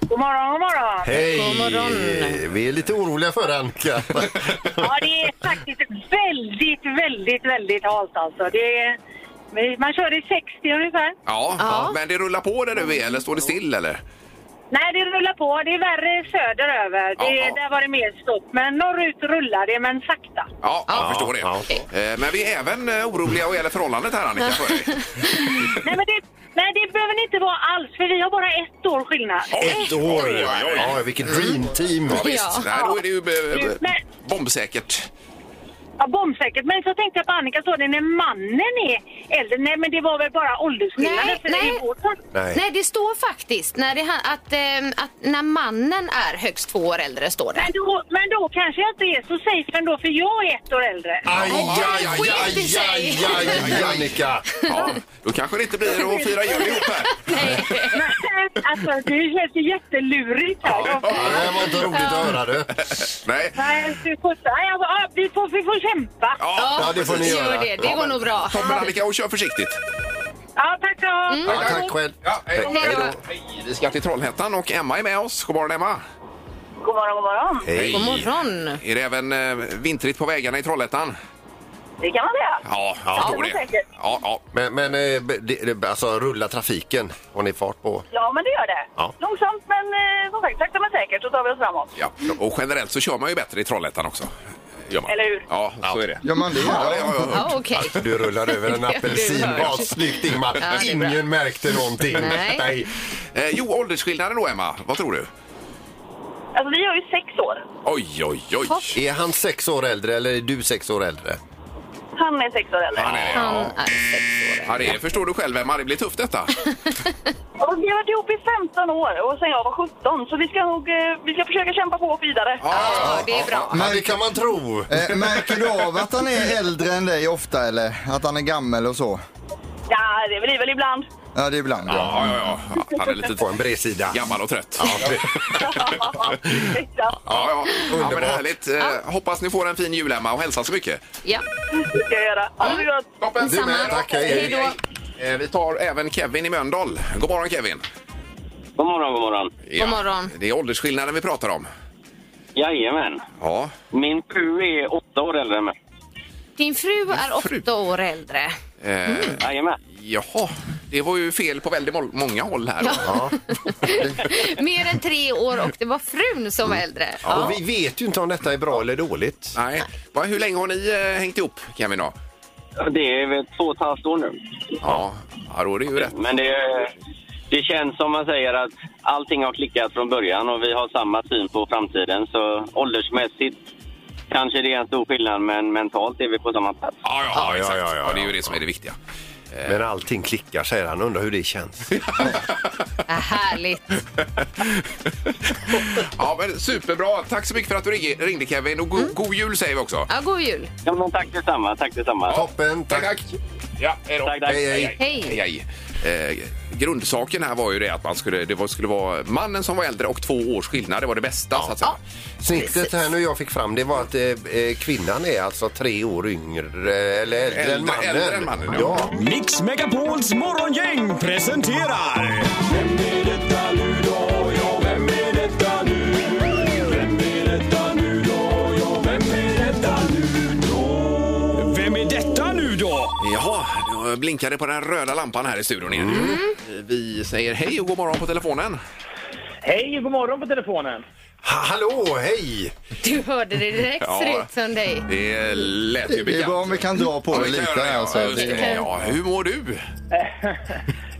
[SPEAKER 8] God morgon, god morgon.
[SPEAKER 2] Hej!
[SPEAKER 3] God morgon.
[SPEAKER 2] Vi är lite oroliga för Annika.
[SPEAKER 8] Ja, det är faktiskt väldigt, väldigt, väldigt halt alltså. Det är, man kör i 60 ungefär.
[SPEAKER 1] Ja,
[SPEAKER 3] Ja.
[SPEAKER 1] men det rullar på där du är eller står det still eller?
[SPEAKER 8] Nej, det rullar på. Det är värre söderöver. Det,
[SPEAKER 1] Ja.
[SPEAKER 8] Där var det mer stopp. Men norrut rullar det, men sakta.
[SPEAKER 1] Ja, jag
[SPEAKER 3] Ja.
[SPEAKER 1] förstår det.
[SPEAKER 2] Ja.
[SPEAKER 1] Eh, Men vi är även eh, oroliga vad gäller förhållandet här Annika för dig.
[SPEAKER 8] Nej, men det, nej, det behöver ni inte vara alls, för vi har bara ett år skillnad.
[SPEAKER 2] Ett år! Ja, vilket dream team.
[SPEAKER 1] Mm. Ja, visst.
[SPEAKER 3] Ja.
[SPEAKER 1] Nej, då är det ju eh,
[SPEAKER 8] Men-
[SPEAKER 1] bombsäkert.
[SPEAKER 8] Ja, bombsäkert. Men så tänkte jag på Annika, så det när mannen är äldre? Nej, men det var väl bara åldersskillnaden?
[SPEAKER 3] Nej,
[SPEAKER 8] för
[SPEAKER 3] nej.
[SPEAKER 8] I vårt fall.
[SPEAKER 2] Nej.
[SPEAKER 3] Nej, det står faktiskt när det, han- att, ehm, att när mannen är högst två år äldre står det.
[SPEAKER 8] Men då, men då kanske jag inte är så safe ändå, för jag är ett år äldre.
[SPEAKER 2] Aj, aj,
[SPEAKER 3] aj, skit i sig.
[SPEAKER 2] aj, Annika!
[SPEAKER 1] Ja, då kanske det inte blir att fira jul ihop här.
[SPEAKER 8] alltså, det känns ju jättelurigt här.
[SPEAKER 2] Ja, det här var inte roligt att höra
[SPEAKER 1] Mm.
[SPEAKER 2] du.
[SPEAKER 1] Nej.
[SPEAKER 8] Nej, fy sjutton. Nej, jag- ja, vi, får, vi får kämpa. Ja,
[SPEAKER 2] Ja, det får ni
[SPEAKER 3] gör
[SPEAKER 2] göra.
[SPEAKER 3] Det, det går nog bra.
[SPEAKER 1] Toppen Annika och kör försiktigt.
[SPEAKER 8] tack så ha.
[SPEAKER 2] Ja,
[SPEAKER 1] Mm.
[SPEAKER 2] tack själv.
[SPEAKER 1] Ja, hej då.
[SPEAKER 3] Hej då.
[SPEAKER 1] Hej, Eh, Vi ska till Trollhättan och Emma är med oss. God morgon Emma.
[SPEAKER 8] God morgon, god morgon.
[SPEAKER 1] Hej.
[SPEAKER 3] God morgon.
[SPEAKER 1] Är det även eh, vintrigt på vägarna i Trollhättan?
[SPEAKER 8] Det kan man säga.
[SPEAKER 1] Ja, jag tror
[SPEAKER 8] det var
[SPEAKER 1] det.
[SPEAKER 8] säkert.
[SPEAKER 1] Ja, ja.
[SPEAKER 2] Men, men eh, be- det, det, alltså rulla trafiken har ni fart på?
[SPEAKER 8] Ja, men det gör det.
[SPEAKER 2] Ja.
[SPEAKER 8] Långsamt, men eh, som sagt, sakta men säkert så tar vi oss framåt.
[SPEAKER 1] Ja, och generellt så kör man ju bättre i Trollhättan också. Gör man.
[SPEAKER 8] Eller hur?
[SPEAKER 1] Ja, så är det.
[SPEAKER 4] Gör man det?
[SPEAKER 1] Ja, det har jag hört.
[SPEAKER 3] Ja, okej.
[SPEAKER 2] Du rullar över en
[SPEAKER 3] Ja, du
[SPEAKER 2] apelsin.
[SPEAKER 3] hör.
[SPEAKER 2] Vad snyggt Ingmar!
[SPEAKER 3] Ja, det är bra.
[SPEAKER 2] Ingen märkte någonting.
[SPEAKER 3] Nej.
[SPEAKER 1] Eh, jo, åldersskillnaden då Emma, vad tror du?
[SPEAKER 8] Alltså, vi har ju sex år.
[SPEAKER 1] Oj, oj, oj.
[SPEAKER 3] Hopp.
[SPEAKER 2] Är han sex år äldre eller är du sex år äldre?
[SPEAKER 8] Han är sex år äldre.
[SPEAKER 1] Han är det,
[SPEAKER 3] Han
[SPEAKER 1] ja.
[SPEAKER 3] är sex år.
[SPEAKER 1] Ja, det förstår du själv Emma, det blir tufft detta.
[SPEAKER 8] Och vi har varit ihop i 15 år och sen jag var 17, så vi ska nog eh, vi ska försöka kämpa på och vidare.
[SPEAKER 3] Ja, det är bra.
[SPEAKER 2] Ja, det kan man tro.
[SPEAKER 4] Eh, märker du av att han är äldre än dig ofta eller? Att han är gammal och så?
[SPEAKER 8] Ja, det blir väl ibland.
[SPEAKER 4] Ja, det är ibland. Ja.
[SPEAKER 1] Ja, ja, ja. ja. Han är lite
[SPEAKER 2] På en bredsida.
[SPEAKER 1] gammal och trött. Ja,
[SPEAKER 8] Exakt.
[SPEAKER 1] ja. ja men härligt. Eh, Hoppas ni får en fin jul Emma och hälsa så mycket.
[SPEAKER 3] Ja.
[SPEAKER 8] Det ska jag göra. Ha det gott.
[SPEAKER 1] Toppen.
[SPEAKER 2] Du med, tack. Hej, hej.
[SPEAKER 3] då.
[SPEAKER 1] Eh, Vi tar även Kevin i Mölndal. God morgon Kevin.
[SPEAKER 11] God morgon, god morgon.
[SPEAKER 1] Ja.
[SPEAKER 3] God morgon.
[SPEAKER 1] Det är åldersskillnaden vi pratar om.
[SPEAKER 11] Jajamän.
[SPEAKER 1] Ja,
[SPEAKER 11] Min fru är åtta år äldre än mig.
[SPEAKER 3] Din fru är
[SPEAKER 1] fru.
[SPEAKER 3] åtta år äldre.
[SPEAKER 1] eh,
[SPEAKER 3] Mm.
[SPEAKER 11] Jajamän.
[SPEAKER 1] jaha. Det var ju fel på väldigt må- många håll här. då.
[SPEAKER 3] Mer än tre år och det var frun som var äldre.
[SPEAKER 2] Och
[SPEAKER 3] Ja.
[SPEAKER 2] vi vet ju inte om detta är bra eller dåligt.
[SPEAKER 1] Nej. Va, hur länge har ni eh, hängt ihop Kevin då?
[SPEAKER 11] Det är väl två och ett halvt år nu.
[SPEAKER 1] Ja, ja då är det ju rätt.
[SPEAKER 11] Men det, det känns som man säger att allting har klickat från början och vi har samma syn på framtiden. Så åldersmässigt kanske det är en stor skillnad, men mentalt är vi på samma plats.
[SPEAKER 1] Ja, ja,
[SPEAKER 2] ja,
[SPEAKER 1] exakt.
[SPEAKER 2] ja, ja,
[SPEAKER 1] det är ju
[SPEAKER 2] ja.
[SPEAKER 1] det som är det viktiga.
[SPEAKER 2] Men allting klickar säger han. Undrar hur det känns.
[SPEAKER 3] Ja, Härligt.
[SPEAKER 1] Ja, men superbra. Tack så mycket för att du ring- ringde Kevin och go-
[SPEAKER 3] Mm.
[SPEAKER 1] god jul säger vi också.
[SPEAKER 3] Ja, god jul.
[SPEAKER 11] Ja, men tack detsamma, tack detsamma.
[SPEAKER 2] Toppen, tack.
[SPEAKER 1] Ja, hej då.
[SPEAKER 11] Tack, tack.
[SPEAKER 2] Hej, hej.
[SPEAKER 3] Hej.
[SPEAKER 1] hej. Eh, grundsaken här var ju det att man skulle, det var, skulle vara mannen som var äldre och två års skillnad. Det var det bästa så att säga.
[SPEAKER 2] Snittet här nu jag fick fram det var att eh, eh, kvinnan är alltså tre år yngre eh, eller äldre,
[SPEAKER 1] Äldre-
[SPEAKER 2] än mannen.
[SPEAKER 1] äldre än mannen, ja.
[SPEAKER 2] ja.
[SPEAKER 12] Mix Megapols morgongäng presenterar... Vem är detta nu då? Ja, vem är detta nu? Vem är detta nu då? Ja, vem är detta nu då? Vem är detta nu då?
[SPEAKER 1] Jaha, då blinkar det på den röda lampan här i studion igen. Vi säger hej och god morgon på telefonen.
[SPEAKER 7] Hej, god morgon på telefonen.
[SPEAKER 2] Ha, hallå, hej!
[SPEAKER 3] Du hörde det direkt,
[SPEAKER 1] Ja.
[SPEAKER 3] ser ut som dig.
[SPEAKER 1] Det lät ju
[SPEAKER 4] Det är
[SPEAKER 1] bekant.
[SPEAKER 4] bra om vi kan dra på
[SPEAKER 1] Ja,
[SPEAKER 4] det
[SPEAKER 1] vi kan
[SPEAKER 4] lite alltså.
[SPEAKER 1] göra det,
[SPEAKER 4] här.
[SPEAKER 1] ja.
[SPEAKER 4] Så att
[SPEAKER 1] Just
[SPEAKER 4] det,
[SPEAKER 1] det. Ja, hur mår du?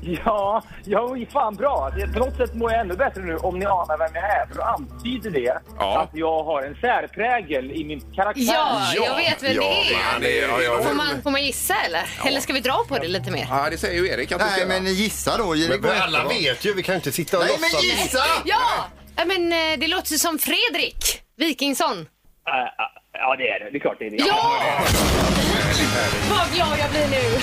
[SPEAKER 7] Ja, jag mår fan bra. Det- På något sätt mår jag ännu bättre nu om ni anar vem jag är. För då antyder det
[SPEAKER 1] Ja.
[SPEAKER 7] att jag har en särprägel i min karaktär.
[SPEAKER 3] Ja, jag vet vem det är.
[SPEAKER 1] men det är- ja, ja,
[SPEAKER 3] Får man, får man gissa eller? Eller ska vi dra på det lite mer?
[SPEAKER 1] Ja, det säger ju Erik att du ska
[SPEAKER 4] Nej, men
[SPEAKER 1] göra.
[SPEAKER 4] gissa då. Det
[SPEAKER 2] Men
[SPEAKER 4] går
[SPEAKER 2] alla
[SPEAKER 4] jättebra.
[SPEAKER 2] vet ju, vi kan inte sitta och
[SPEAKER 4] Nej, men
[SPEAKER 2] låtsas.
[SPEAKER 4] gissa!
[SPEAKER 3] Ja! ja men eh, det låter som Fredrik Wikingsson.
[SPEAKER 7] Äh, Ja, det är det. Det är klart det är det.
[SPEAKER 3] Ja! Vad glad jag blir nu!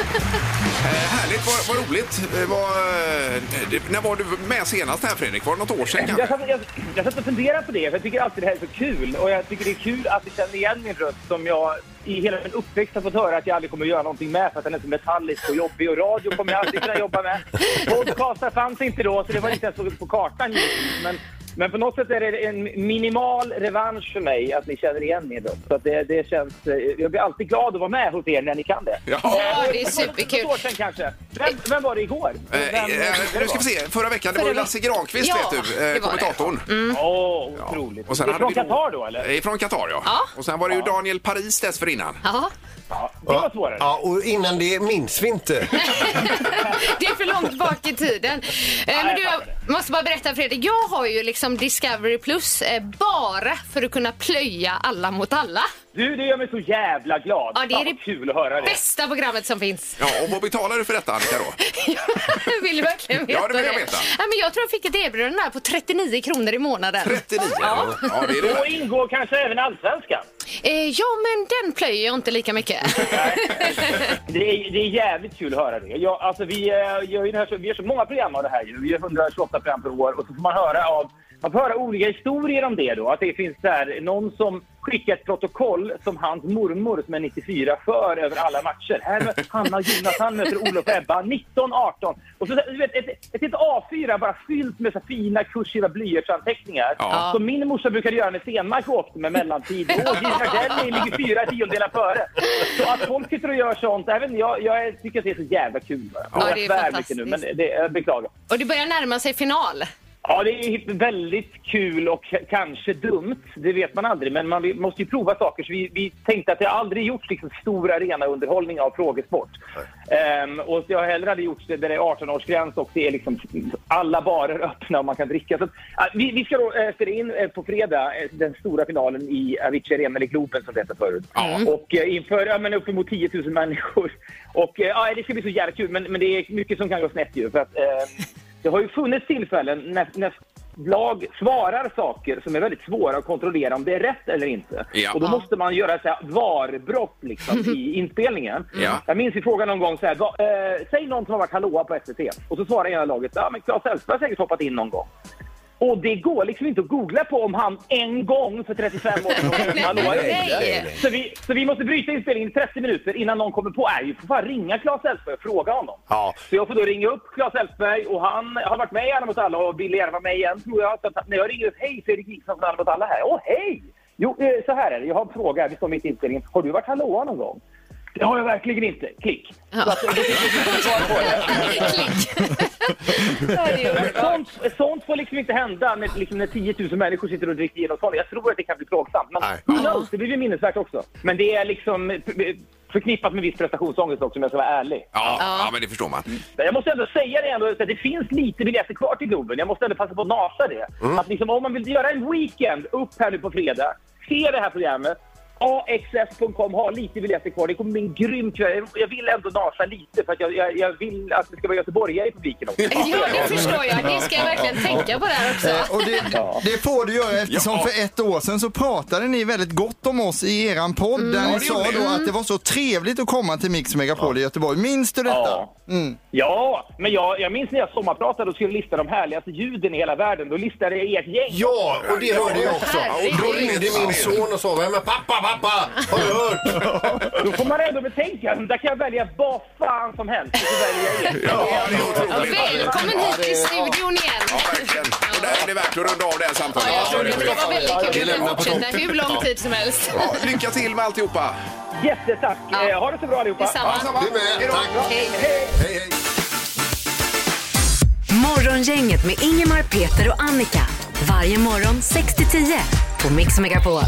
[SPEAKER 1] Eh, Härligt, vad, vad roligt. Eh, vad, eh, det, när var du med senast här Fredrik? Var det något år sedan
[SPEAKER 7] Jag
[SPEAKER 1] kanske?
[SPEAKER 7] satt, jag, jag satt och funderade på det, för jag tycker alltid det här är så kul. Och jag tycker det är kul att vi känner igen min röst som jag i hela min uppväxt har fått höra att jag aldrig kommer att göra någonting med för att den är så metallisk och jobbig. Och radio kommer jag aldrig kunna jobba med. Podcastar fanns inte då, så det var inte ens på- på kartan givetvis. Men, men på något sätt är det en minimal revansch för mig att ni känner igen min röst. Så att det, det känns, eh, jag blir alltid glad att vara med hos er när ni kan det.
[SPEAKER 1] Ja.
[SPEAKER 3] Ja, det är superkul.
[SPEAKER 7] Något år sedan kanske. Vem, vem var det igår?
[SPEAKER 1] Eh,
[SPEAKER 7] Vem- vem-
[SPEAKER 1] eh, nu ska vi se, förra veckan det var ju Lasse Granqvist
[SPEAKER 3] Ja,
[SPEAKER 1] vet du, eh,
[SPEAKER 3] det var det.
[SPEAKER 1] kommentatorn.
[SPEAKER 7] Åh, otroligt.
[SPEAKER 1] Och sen
[SPEAKER 7] Det är
[SPEAKER 1] hade
[SPEAKER 7] från
[SPEAKER 1] vi då-
[SPEAKER 7] Qatar då, eller?
[SPEAKER 1] Eh, Från Qatar ja.
[SPEAKER 3] Ja.
[SPEAKER 1] Och sen var det ju Daniel Paris dessförinnan.
[SPEAKER 3] Ja,
[SPEAKER 7] Det var svårare.
[SPEAKER 2] Ja, och innan det minns vi inte.
[SPEAKER 3] det är för långt bak i tiden. Eh, Men
[SPEAKER 7] jag
[SPEAKER 3] du, jag
[SPEAKER 7] fattar det.
[SPEAKER 3] måste bara berätta Fredrik. Jag har ju liksom Discovery Plus eh, bara för att kunna plöja alla mot alla.
[SPEAKER 7] Du, det gör mig så jävla glad.
[SPEAKER 3] Ja, det är
[SPEAKER 7] Fan,
[SPEAKER 3] det-
[SPEAKER 7] vad kul att höra det.
[SPEAKER 3] Bästa programmet som finns.
[SPEAKER 1] Ja, och vad betalar du för detta Annika då?
[SPEAKER 3] Jag vill verkligen veta
[SPEAKER 1] Ja, det vill jag veta.
[SPEAKER 3] Ja, men jag tror jag fick ett erbjudande här på 39 kronor i månaden.
[SPEAKER 1] 39? Ja, ja det är
[SPEAKER 7] Då
[SPEAKER 1] det.
[SPEAKER 7] ingår kanske även allsvenskan.
[SPEAKER 3] Eh, ja, men den plöjer jag inte lika mycket.
[SPEAKER 7] Det är, det är jävligt kul att höra det. Jag, alltså, vi, eh, gör ju det här, så- vi gör så många program av det här. ju. Vi gör 128 program per år och så får man höra av man får höra olika historier om det då. Att det finns så här, någon som skickar ett protokoll som hans mormor som är 94 för över alla matcher. Här möter Hanna och Jonathan möter Olof och Ebba 19-18. Och så du vet, ett, ett, ett A4 bara fyllt med så här fina kursiva blyertsanteckningar.
[SPEAKER 1] Ja.
[SPEAKER 7] Som min morsa brukade göra när Stenmark åkte med mellantid. Och Gina Gardell ligger fyra tiondelar före. Så att folk sitter och gör sånt, även jag, jag tycker att det är så jävla kul. bara.
[SPEAKER 3] Ja,
[SPEAKER 7] jag
[SPEAKER 3] det är
[SPEAKER 7] svär
[SPEAKER 3] fantastiskt.
[SPEAKER 7] mycket nu, men det, jag beklagar.
[SPEAKER 3] Och det börjar närma sig final.
[SPEAKER 7] Ja, det är väldigt kul och k- kanske dumt. Det vet man aldrig, men man vi- måste ju prova saker. Så vi, vi tänkte att det aldrig gjorts liksom stor arenaunderhållning av frågesport. Ehm, och jag har hellre hade gjort det där det är 18-årsgräns och det är liksom alla barer öppna och man kan dricka. Så att, ah, vi, vi ska då eh, spela in eh, på fredag eh, den stora finalen i Avicii Arena, eller Globen som det hette förut. Och eh, inför ja, men uppemot 10 000 människor. Och eh, ja, det ska bli så jävla kul, men, men det är mycket som kan gå snett ju. För att, ehm, det har ju funnits tillfällen när, när lag svarar saker som är väldigt svåra att kontrollera om det är rätt eller inte.
[SPEAKER 1] Ja.
[SPEAKER 7] Och då
[SPEAKER 1] Ja.
[SPEAKER 7] måste man göra så här varbrott liksom, i inspelningen.
[SPEAKER 1] Ja.
[SPEAKER 7] Jag minns ju frågan någon gång så här, va, eh, säg någon som har varit hallåa på SVT. Och så svarar ena laget, ja men Claes Elfsberg har säkert hoppat in någon gång. Och det går liksom inte att googla på om han en gång för 35 år sedan
[SPEAKER 3] Nej,
[SPEAKER 7] hallåa
[SPEAKER 3] nej,
[SPEAKER 7] ringde.
[SPEAKER 3] nej.
[SPEAKER 7] Så vi, så vi måste bryta inspelningen i 30 minuter innan någon kommer på, nej vi får fan ringa Claes Elfsberg och fråga honom.
[SPEAKER 2] Ja.
[SPEAKER 7] Så jag får då ringa upp Claes Elfsberg och han har varit med i Alla mot alla och vill gärna vara med igen tror jag. Så att när jag ringer upp, hej Fredrik Wikingsson från Alla mot alla här. Åh hej! Jo, eh, så här är det, jag har en fråga, här. vi står mitt i inspelningen. Har du varit hallåa någon gång? Det har jag verkligen inte. Klick. Så att, då fick jag inte svar på det.
[SPEAKER 3] Klick. Ja, det är
[SPEAKER 7] Men
[SPEAKER 3] underbart.
[SPEAKER 7] sånt, sånt får liksom inte hända när, liksom när 10 000 människor sitter och dricker genomtalet. Jag tror att det kan bli plågsamt. Men
[SPEAKER 2] Nej.
[SPEAKER 7] who knows, det blir ju minnesvärt också. Men det är liksom eh, förknippat med viss prestationsångest också om jag ska vara ärlig.
[SPEAKER 1] Ja, ja, men det förstår man.
[SPEAKER 7] Men Jag måste ändå säga det ändå, att det finns lite biljetter kvar till Globen. Jag måste ändå passa på att nasa det. Att liksom, om man vill göra en weekend upp här nu på fredag, se det här programmet, AXS.com har lite biljetter kvar. Det kommer bli en grym kväll. Jag- Jag vill ändå nasa lite för att jag, jag, jag vill att det ska vara göteborgare i publiken också.
[SPEAKER 3] Ja, det förstår jag. Det ska jag verkligen tänka på där
[SPEAKER 4] Eh,
[SPEAKER 3] också.
[SPEAKER 4] Och det, det får du göra eftersom
[SPEAKER 1] Ja.
[SPEAKER 4] för ett år sedan så pratade ni väldigt gott om oss i eran podd där ni
[SPEAKER 1] Mm. det
[SPEAKER 4] sa
[SPEAKER 1] gjorde
[SPEAKER 4] då att det var så trevligt att komma till Mix Megapol i Göteborg. Minns du detta? Mm.
[SPEAKER 7] Ja. Ja, men jag, jag minns när jag sommarpratade och skulle lista de härligaste ljuden i hela världen. Då listade jag ert gäng.
[SPEAKER 2] Ja, och det hörde jag också.
[SPEAKER 3] Herregud.
[SPEAKER 2] Då ringde min son och sa Vem är pappa, pappa? Har du hört?
[SPEAKER 7] Då får man ändå betänka. Där kan jag välja vad fan som helst. Och så väljer jag er.
[SPEAKER 1] Ja, det är otroligt.
[SPEAKER 3] Välkommen hit till studion igen.
[SPEAKER 1] Ja, verkligen. Och där är det värt att runda av det här samtalet.
[SPEAKER 3] Ja, jag tror det. Det var väldigt kul. Vi
[SPEAKER 2] lämnar
[SPEAKER 3] kan
[SPEAKER 2] på
[SPEAKER 3] fortsätta hur lång tid som helst.
[SPEAKER 1] Ja, lycka till med alltihopa.
[SPEAKER 7] Jättetack.
[SPEAKER 3] Ja.
[SPEAKER 7] Eh, Ha det så bra allihopa.
[SPEAKER 3] Detsamma.
[SPEAKER 2] Du med. Tack.
[SPEAKER 3] Hej.
[SPEAKER 2] Hej, hej.
[SPEAKER 5] Morgongänget med Ingemar, Peter och Annika. Varje morgon 6-10 på Mix Megapol.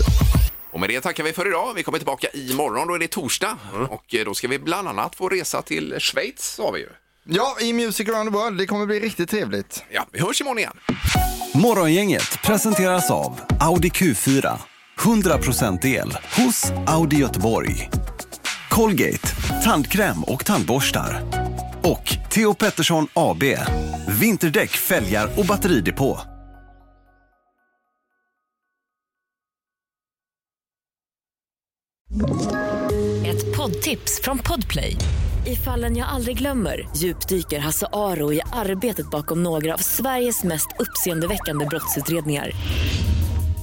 [SPEAKER 1] Och med det tackar vi för idag. Vi kommer tillbaka imorgon. Då är det torsdag. Och eh, då ska vi bland annat få resa till Schweiz. Har vi ju.
[SPEAKER 4] Ja, i Music around the world. Det kommer bli riktigt trevligt.
[SPEAKER 1] Ja, vi hörs imorgon igen.
[SPEAKER 12] Morgongänget presenteras av Audi Q4. 100% el hos Audi Göteborg. Colgate, tandkräm och tandborstar. Och Theo Pettersson AB, vinterdäck, fälgar och batteridepå.
[SPEAKER 13] Ett poddtips från Podplay. I fallen jag aldrig glömmer djupdyker Hasse Aro i arbetet bakom några av Sveriges mest uppseendeväckande brottsutredningar.